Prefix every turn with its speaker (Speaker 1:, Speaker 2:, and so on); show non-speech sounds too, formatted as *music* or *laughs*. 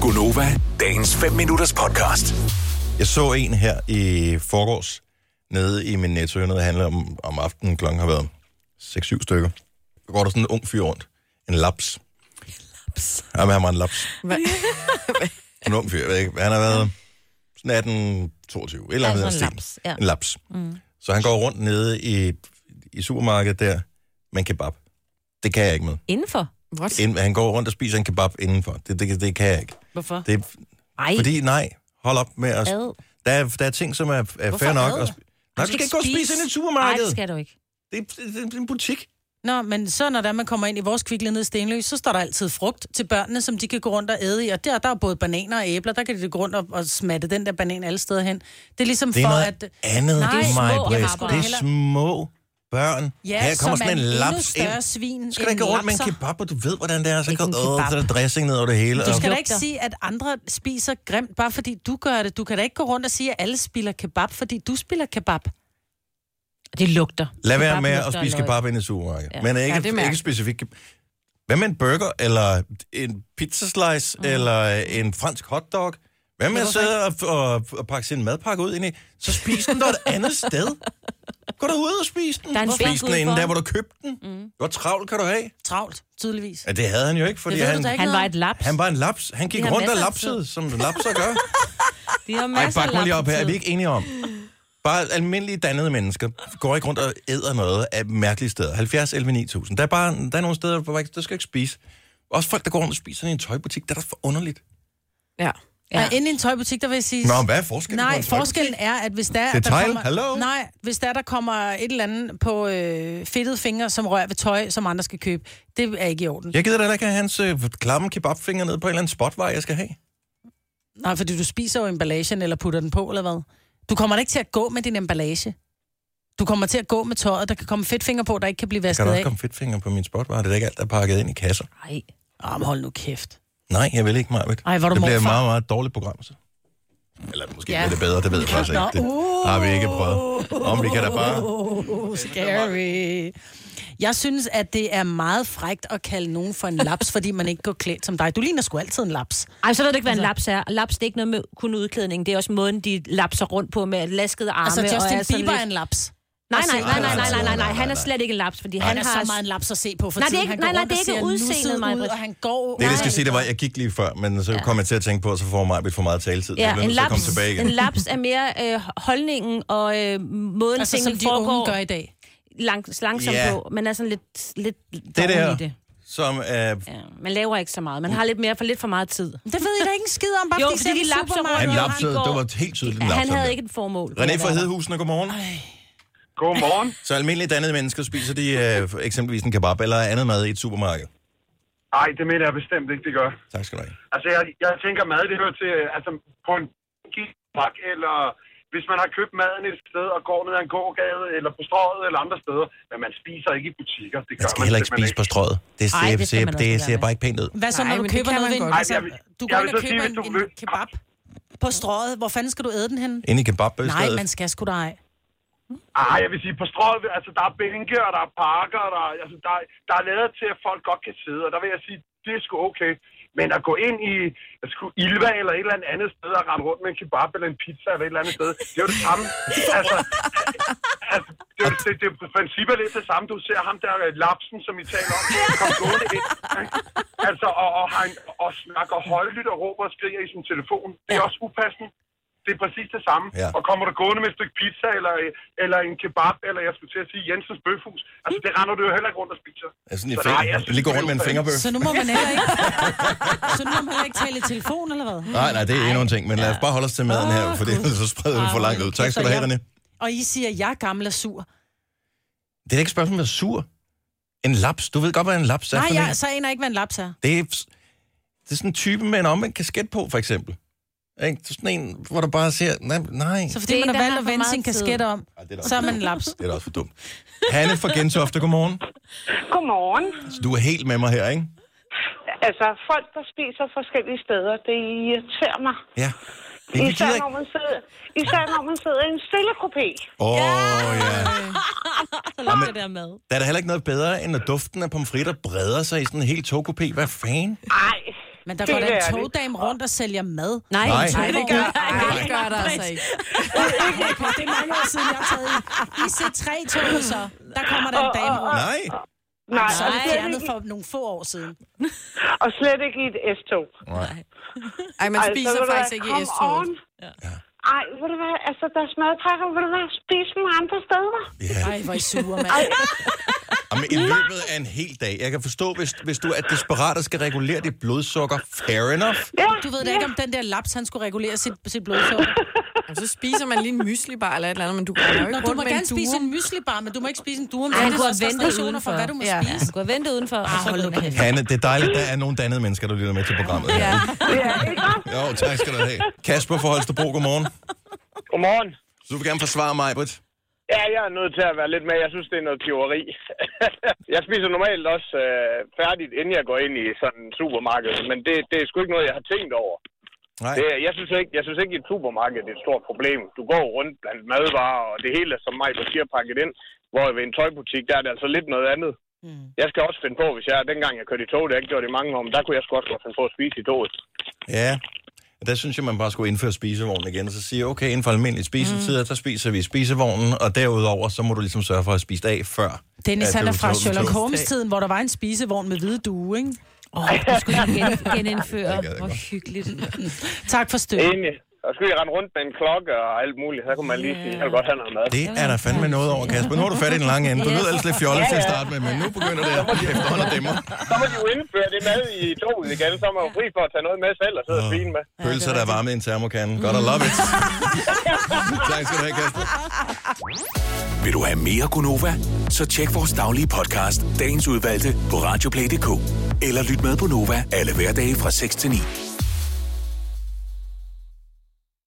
Speaker 1: Gunova, dagens 5 minutters podcast.
Speaker 2: Jeg så en her i forgårs, nede i min netto, jeg er nede og handler om, om aftenen, klokken har været 6-7 stykker. Så går der sådan en ung fyr rundt, en laps. Laps? Ja, men han var en laps.
Speaker 3: Hva?
Speaker 2: En ung fyr, jeg ved ikke, han har været sådan 18, 22, et eller andet.
Speaker 3: Ja,
Speaker 2: af den
Speaker 3: sådan en
Speaker 2: stil.
Speaker 3: laps, ja.
Speaker 2: En laps. Mm. Så han går rundt nede i, i supermarkedet der med en kebab. Det kan jeg ikke med.
Speaker 3: *laughs* Indenfor?
Speaker 4: What?
Speaker 2: Inden, han går rundt og spiser en kebab indenfor. Det, det, det kan jeg ikke.
Speaker 4: Hvorfor? Det...
Speaker 2: Det,
Speaker 3: Ej, Fordi...
Speaker 2: fordi nej, hold op med at...
Speaker 3: ad.
Speaker 2: Der er, der er ting, som er, er fair nok.
Speaker 4: ad?
Speaker 2: At spi- nej, du skal ikke gå og spise ind i et supermarked.
Speaker 3: Nej, det skal du ikke.
Speaker 2: det, er, det, er, det er en butik.
Speaker 4: Nå, men så når der, man kommer ind i vores kvikle nede i Stenløs, så står der altid frugt til børnene, som de kan gå rundt og æde i. Og der, der er både bananer og æbler, der kan de gå rundt og, og smatte den der banan alle steder hen. Det er ligesom
Speaker 2: Det er
Speaker 4: for,
Speaker 2: noget
Speaker 4: at...
Speaker 2: andet,
Speaker 4: Nej, det er små,
Speaker 2: mig,
Speaker 4: jeg
Speaker 2: Britt.
Speaker 4: har bare
Speaker 2: Det er
Speaker 4: heller-
Speaker 2: små børn.
Speaker 4: Ja,
Speaker 2: Her kommer
Speaker 4: som
Speaker 2: sådan en
Speaker 4: er en endnu
Speaker 2: laps
Speaker 4: større
Speaker 2: ind.
Speaker 4: svin
Speaker 2: Skal der ikke
Speaker 4: end
Speaker 2: gå rundt med en
Speaker 4: lapser?
Speaker 2: kebab, og du ved, hvordan det er, så
Speaker 3: Ikke
Speaker 2: kan
Speaker 3: en
Speaker 2: du åh,
Speaker 3: kebab.
Speaker 2: så er der dressing ned over det hele.
Speaker 4: Du
Speaker 2: og-
Speaker 4: skal da
Speaker 3: lugter.
Speaker 4: ikke sige, at andre spiser grimt, bare fordi du gør det. Du kan da ikke gå rundt og sige, at alle spiller kebab, fordi du spiller kebab.
Speaker 3: Det lugter.
Speaker 2: Lad være
Speaker 3: Kebab
Speaker 2: med at
Speaker 3: lugter af
Speaker 2: spise
Speaker 3: løg.
Speaker 2: kebab ind i supermarkedet. Ja. Men
Speaker 4: Ja, det er
Speaker 2: ikke, ja,
Speaker 4: mærkeligt.
Speaker 2: ikke specifikt. kebab. Hvad med en burger, eller en pizzaslice, mm. eller en fransk hotdog? Hvad med at sidde og, og, og pakke sin madpakke ud ind i? Så spis den dog et andet sted. Gå da ud og spis den.
Speaker 3: Der er en bænk
Speaker 2: spis den
Speaker 3: udenfor.
Speaker 2: inden der, hvor du købte den. Mm. Hvor travlt kan du have?
Speaker 4: Travlt, tydeligvis.
Speaker 2: Ja, det havde han jo ikke, fordi
Speaker 4: Det ved du
Speaker 2: han,
Speaker 4: da ikke.
Speaker 3: Han var et laps.
Speaker 2: han var en laps. Han gik
Speaker 3: har
Speaker 2: rundt og
Speaker 3: masser af tid.
Speaker 2: lapsede, som lapser gør.
Speaker 3: De har
Speaker 2: Ej,
Speaker 3: masser af
Speaker 2: bak mig lige op her. Er vi
Speaker 3: lapsetid.
Speaker 2: ikke enige om? Bare almindelige dannede mennesker går ikke rundt og æder noget af mærkelige steder. 70, 11, 9000. Der er bare der er nogle steder, hvor man ikke- der skal ikke spise. Også folk, der går rundt og spiser i en tøjbutik, det er da for underligt.
Speaker 4: Ja.
Speaker 3: Ja.
Speaker 4: ja. Inde i en tøjbutik, der vil jeg sige...
Speaker 2: Nå, hvad er forskellen på
Speaker 4: Nej,
Speaker 2: en tøjbutik?
Speaker 4: forskellen er, at hvis der,
Speaker 2: Detail,
Speaker 4: der kommer,
Speaker 2: hallo?
Speaker 4: Nej, hvis der, der kommer et eller andet på øh, fedtede fingre, som rører ved tøj, som andre skal købe, det er ikke i orden. Ja.
Speaker 2: Jeg gider da heller ikke have hans øh, klamme kebabfinger ned på en eller anden spotvej, jeg skal have.
Speaker 4: Nej, fordi du spiser jo emballagen, eller putter den på, eller hvad? Du kommer da ikke til at gå med din emballage. Du kommer til at gå med tøjet, der kan komme fedtfinger på, der ikke kan blive
Speaker 2: Kan
Speaker 4: vasket
Speaker 2: der
Speaker 4: af.
Speaker 2: også komme fedtfinger på min spotvej? Det er da ikke alt, der er pakket ind i kasser.
Speaker 3: Nej.
Speaker 4: Åh, men hold nu kæft.
Speaker 2: Nej, jeg vil ikke, Marvitt.
Speaker 4: Ej, hvor er du
Speaker 2: Det bliver et
Speaker 4: morfar.
Speaker 2: meget, meget dårligt program, så. Eller måske
Speaker 4: Ja.
Speaker 2: bliver det bedre, det ved jeg faktisk ikke. Det har vi ikke prøvet. Om vi kan da bare...
Speaker 4: Oh, scary. Jeg synes, at det er meget frægt at kalde nogen for en laps, fordi man ikke går klædt som dig. Du ligner sgu altid en laps.
Speaker 3: Ej, så ved du ikke, hvad en laps er. Laps, det er ikke noget med kun udklædning. Det er også måden, de lapser rundt på med laskede arme.
Speaker 4: Altså,
Speaker 3: og
Speaker 4: Justin
Speaker 3: er sådan
Speaker 4: Bieber er
Speaker 3: lidt-
Speaker 4: en laps.
Speaker 3: Nej, nej, nej, nej, nej, nej, nej, nej. Han er slet ikke en laps, fordi han
Speaker 4: Han er
Speaker 3: har...
Speaker 4: så meget en laps at se på for
Speaker 3: Nej, det er
Speaker 4: tiden.
Speaker 3: ikke-
Speaker 4: Han går
Speaker 3: nej, nej,
Speaker 4: rundt
Speaker 3: det er
Speaker 4: og
Speaker 3: ikke
Speaker 4: ser
Speaker 3: udseendet,
Speaker 4: nusset
Speaker 3: Maja
Speaker 4: ud,
Speaker 3: Britt.
Speaker 4: og han går...
Speaker 2: Det, jeg
Speaker 4: Nej.
Speaker 2: skal sige, det var, jeg gik lige før, men så kom jeg til at tænke på, at så får mig for meget taletid. så jeg
Speaker 3: Ja,
Speaker 2: bliver
Speaker 3: en
Speaker 2: nødt til at komme
Speaker 3: laps,
Speaker 2: tilbage igen.
Speaker 3: en laps er mere øh, holdningen og øh, måden,
Speaker 4: Altså, som
Speaker 3: tingene
Speaker 4: de unge
Speaker 3: foregår
Speaker 4: gør i dag.
Speaker 3: langs, langsomt
Speaker 2: Ja.
Speaker 3: på. Man er sådan lidt, lidt det
Speaker 2: Det
Speaker 3: der. i
Speaker 2: der,
Speaker 3: det.
Speaker 2: som er...
Speaker 3: Ja, man laver ikke så meget. Man har lidt mere for lidt for meget tid.
Speaker 4: Det ved jeg da ikke en skid om, bare
Speaker 3: Jo,
Speaker 4: fordi,
Speaker 3: fordi
Speaker 4: de
Speaker 3: de lapser
Speaker 4: lapser
Speaker 3: rundt.
Speaker 2: Han
Speaker 3: Nå,
Speaker 2: lapsede,
Speaker 3: han
Speaker 2: det
Speaker 3: går-
Speaker 2: var helt tydeligt,
Speaker 3: Ja,
Speaker 2: en
Speaker 3: han
Speaker 2: lapser.
Speaker 3: havde ikke et formål.
Speaker 2: René fra Hedehusene, godmorgen.
Speaker 5: Godmorgen.
Speaker 2: *laughs* Så almindelige dannede mennesker spiser de øh, eksempelvis en kebab eller andet mad i et supermarked.
Speaker 5: Nej, det mener jeg bestemt ikke, det gør.
Speaker 2: Tak skal du have.
Speaker 5: Altså, jeg, jeg tænker mad, det hører til, øh, altså, på en gikpak, eller hvis man har købt maden et sted og går ned ad en gågade, eller på strøget, eller andre steder, men man spiser ikke i butikker. Det gør
Speaker 2: Man skal heller ikke
Speaker 5: simpelthen
Speaker 2: spise på strøget. Det ser,
Speaker 3: Ej, det
Speaker 2: det
Speaker 3: skal
Speaker 2: ser,
Speaker 3: man også
Speaker 2: det
Speaker 3: lade
Speaker 2: ser
Speaker 3: være
Speaker 2: bare ikke pænt ud.
Speaker 4: Hvad så,
Speaker 3: Nej,
Speaker 4: når du
Speaker 3: men det
Speaker 4: køber
Speaker 3: kan
Speaker 4: noget
Speaker 3: man
Speaker 4: ved en...
Speaker 3: godt.
Speaker 4: altså,
Speaker 5: Ej, jeg vil-
Speaker 4: du går
Speaker 5: jeg
Speaker 4: ind
Speaker 5: vil
Speaker 4: og
Speaker 5: så
Speaker 4: køber
Speaker 5: sige,
Speaker 4: en,
Speaker 5: hvis du
Speaker 4: en
Speaker 5: vil-
Speaker 4: kebab på strøget. Hvor fanden skal du æde den hen?
Speaker 2: Inde i kebab i
Speaker 4: Nej,
Speaker 2: stedet.
Speaker 4: man skal sgu da ej.
Speaker 5: Ah, jeg vil sige, på strøget, altså, der er bænke, og der er parker, og der, er- altså, der, er- der er lavet til, at folk godt kan sidde, og der vil jeg sige, det er sgu okay. Men at gå ind i at skulle Ilva eller et eller andet andet sted og rende rundt med en kebab eller en pizza eller et eller andet sted, det er jo det samme. Altså, altså det, er, jo- det, det er i princippet lidt det samme. Du ser ham der, øh, Lapsen, som I taler om, kom gående ind. ikke? Altså, og, og, han, og snakker højlydt og råber og skriger i sin telefon. Det er også upassende. Det er præcis det samme.
Speaker 2: Ja.
Speaker 5: Ja. Og kommer du gående med et stykke pizza, eller, øh, eller en kebab, eller jeg skulle til at sige Jensens bøfhus, altså det render du jo heller ikke rundt og spiser.
Speaker 2: Altså, sådan i
Speaker 5: Så nej, jeg
Speaker 2: finger,
Speaker 5: synes,
Speaker 2: lige gå rundt med en
Speaker 5: det er
Speaker 2: fingerbøf.
Speaker 4: Så nu må man heller ikke... så nu må man heller ikke tale i telefon, eller hvad?
Speaker 2: Nej, nej, det er endnu en ting, men lad os bare holde os til maden her,
Speaker 4: Åh,
Speaker 2: for
Speaker 4: Gud.
Speaker 2: det, så spreder det for langt ud. Tak skal du have, René.
Speaker 4: Og I siger, at jeg er gammel og sur.
Speaker 2: Det er da ikke et spørgsmål om at være sur. En laps. Du ved godt, hvad en laps er
Speaker 4: Nej,
Speaker 2: for en.
Speaker 4: jeg, så aner jeg ikke, hvad en laps er.
Speaker 2: Det er, det er sådan en type med en omvendt kasket på, for eksempel. Ikke? Det er sådan en, hvor du bare ser, nej, nej.
Speaker 4: Så
Speaker 2: Så...
Speaker 4: fordi
Speaker 3: Det er
Speaker 4: man
Speaker 3: en,
Speaker 4: har
Speaker 3: der
Speaker 4: valgt
Speaker 3: har
Speaker 4: at
Speaker 3: for
Speaker 4: vende
Speaker 3: meget
Speaker 4: sin
Speaker 3: tid.
Speaker 4: kasket om,
Speaker 2: Ej, det er da
Speaker 4: så er man en laps.
Speaker 2: Det er da også for dumt. Hanne fra Gentofte, godmorgen.
Speaker 6: Godmorgen.
Speaker 2: Så du er helt med mig her, ikke?
Speaker 6: Altså, folk, der spiser forskellige steder, det irriterer mig.
Speaker 2: Ja. Men vi
Speaker 6: Især
Speaker 2: gider
Speaker 6: når,
Speaker 2: ikke.
Speaker 6: man sidder, især når man sidder i en stille kupé.
Speaker 2: Åh, oh, ja.
Speaker 3: Så laver det der mad.
Speaker 2: Der er da heller ikke noget bedre, end at duften af pomfritter breder sig i sådan en helt togkopé. Hvad fanden?
Speaker 6: Ej,
Speaker 4: Men der
Speaker 6: Det
Speaker 4: går da
Speaker 6: er
Speaker 4: en
Speaker 6: det.
Speaker 4: togdame rundt og sælger mad.
Speaker 3: Nej,
Speaker 2: Nej. Nej,
Speaker 3: en togvogn.
Speaker 7: det gør, nej,
Speaker 3: Nej.
Speaker 7: det gør der altså ikke.
Speaker 4: Det er mange år siden, jeg har taget i, i C3-toget så. Der kommer der en dame rundt.
Speaker 2: Nej.
Speaker 6: Nej,
Speaker 4: Så er det
Speaker 6: og slet,
Speaker 4: fjernet
Speaker 6: ikke,
Speaker 4: for nogle få år siden.
Speaker 6: og slet ikke i et S-tog.
Speaker 2: Nej.
Speaker 7: Ej, man
Speaker 6: Ej,
Speaker 7: spiser
Speaker 6: ved du
Speaker 7: faktisk
Speaker 6: hvad,
Speaker 7: ikke i
Speaker 6: come
Speaker 7: S-toget.
Speaker 6: on. Ej, ved du hvad, altså deres madpakker, ved du hvad, spis dem andre steder.
Speaker 2: Ja.
Speaker 4: Ej, hvor er I sure, mand.
Speaker 2: Jamen, i løbet af en hel dag. Jeg kan forstå, hvis, hvis du er desperat og skal regulere dit blodsukker. Fair enough.
Speaker 6: Ja,
Speaker 4: Du ved da ikke, om den der laps, han skulle regulere sit, sit blodsukker.
Speaker 7: Jamen, så spiser man lige en myslibar eller et eller andet, men du går jo ikke
Speaker 4: Nå,
Speaker 7: rundt
Speaker 4: du må
Speaker 7: med
Speaker 4: gerne
Speaker 7: en
Speaker 4: spise
Speaker 7: durum.
Speaker 4: en myslibar, men du må ikke spise en durum.
Speaker 3: Ej,
Speaker 4: Der
Speaker 3: han
Speaker 4: er
Speaker 3: kunne
Speaker 4: så
Speaker 3: have ventet
Speaker 4: restriktioner
Speaker 3: udenfor.
Speaker 4: for, hvad du må
Speaker 7: Ja.
Speaker 3: Ja, Ah,
Speaker 4: spise.
Speaker 3: han kunne have ventet udenfor, og så
Speaker 4: hold
Speaker 3: gå
Speaker 4: nu
Speaker 3: ind og hente.
Speaker 2: Hanne, det er dejligt, der er nogle dannede mennesker, der lytter med til programmet.
Speaker 7: Ja.
Speaker 6: ja, ikke også?
Speaker 2: Jo, tak skal du have. Kasper fra Holstebro, godmorgen.
Speaker 5: Godmorgen.
Speaker 2: Så du vil gerne forsvare mig, Britt.
Speaker 5: Ja, jeg er nødt til at være lidt med. Jeg synes, det er noget piveri. *laughs* jeg spiser normalt også øh, færdigt, inden jeg går ind i sådan en supermarked, men det, det er sgu ikke noget, jeg har tænkt over.
Speaker 2: Nej.
Speaker 5: Det, jeg, synes ikke, jeg synes ikke, at et supermarked er et stort problem. Du går rundt blandt madvarer, og det hele er, som mig, der siger, pakket ind. Hvor ved en tøjbutik, der er det altså lidt noget andet. Mm. Jeg skal også finde på, hvis jeg, dengang jeg kørte i tog, det har jeg ikke gjort i mange år, men der kunne jeg sgu også godt finde på at spise i toget.
Speaker 2: Ja. Og Der synes jeg, man bare skulle indføre spisevognen igen, og så sige, okay, inden for almindelige spisetider, mm. så spiser vi i spisevognen, og derudover, så må du ligesom sørge for at spise af før.
Speaker 4: Dennis,
Speaker 2: at
Speaker 4: han
Speaker 2: du
Speaker 4: er fra
Speaker 2: tager den
Speaker 4: Sherlock
Speaker 2: tog.
Speaker 4: Holmes-tiden, hvor der var en spisevogn med hvide due, ikke?
Speaker 3: Åh, du skulle lige gen- genindføre.
Speaker 2: Det gad jeg
Speaker 3: Hvor
Speaker 2: godt.
Speaker 3: hyggeligt.
Speaker 4: Tak for støtten.
Speaker 5: Enig. Og skulle jeg rende rundt med en klokke og alt muligt, så kunne man lige sige, jeg vil godt have noget mad.
Speaker 2: Det er der fandme noget over, Kasper. Nu har du fat i den lange ende. Du lyder ellers lidt fjollet til at starte med, men nu begynder det at efterhånden at dæmme.
Speaker 5: Så må de jo indføre det mad i toget igen, så er man jo fri for at tage noget med selv og sidde og svine med.
Speaker 2: Pølser, der er varme i en termokande. Godt, I love it. tak skal du have, Kasper.
Speaker 1: Vil du have mere Gunova? Så tjek vores daglige podcast, dagens udvalgte, på radioplay.dk. Eller lyt med på Nova alle hverdage fra 6 til 9.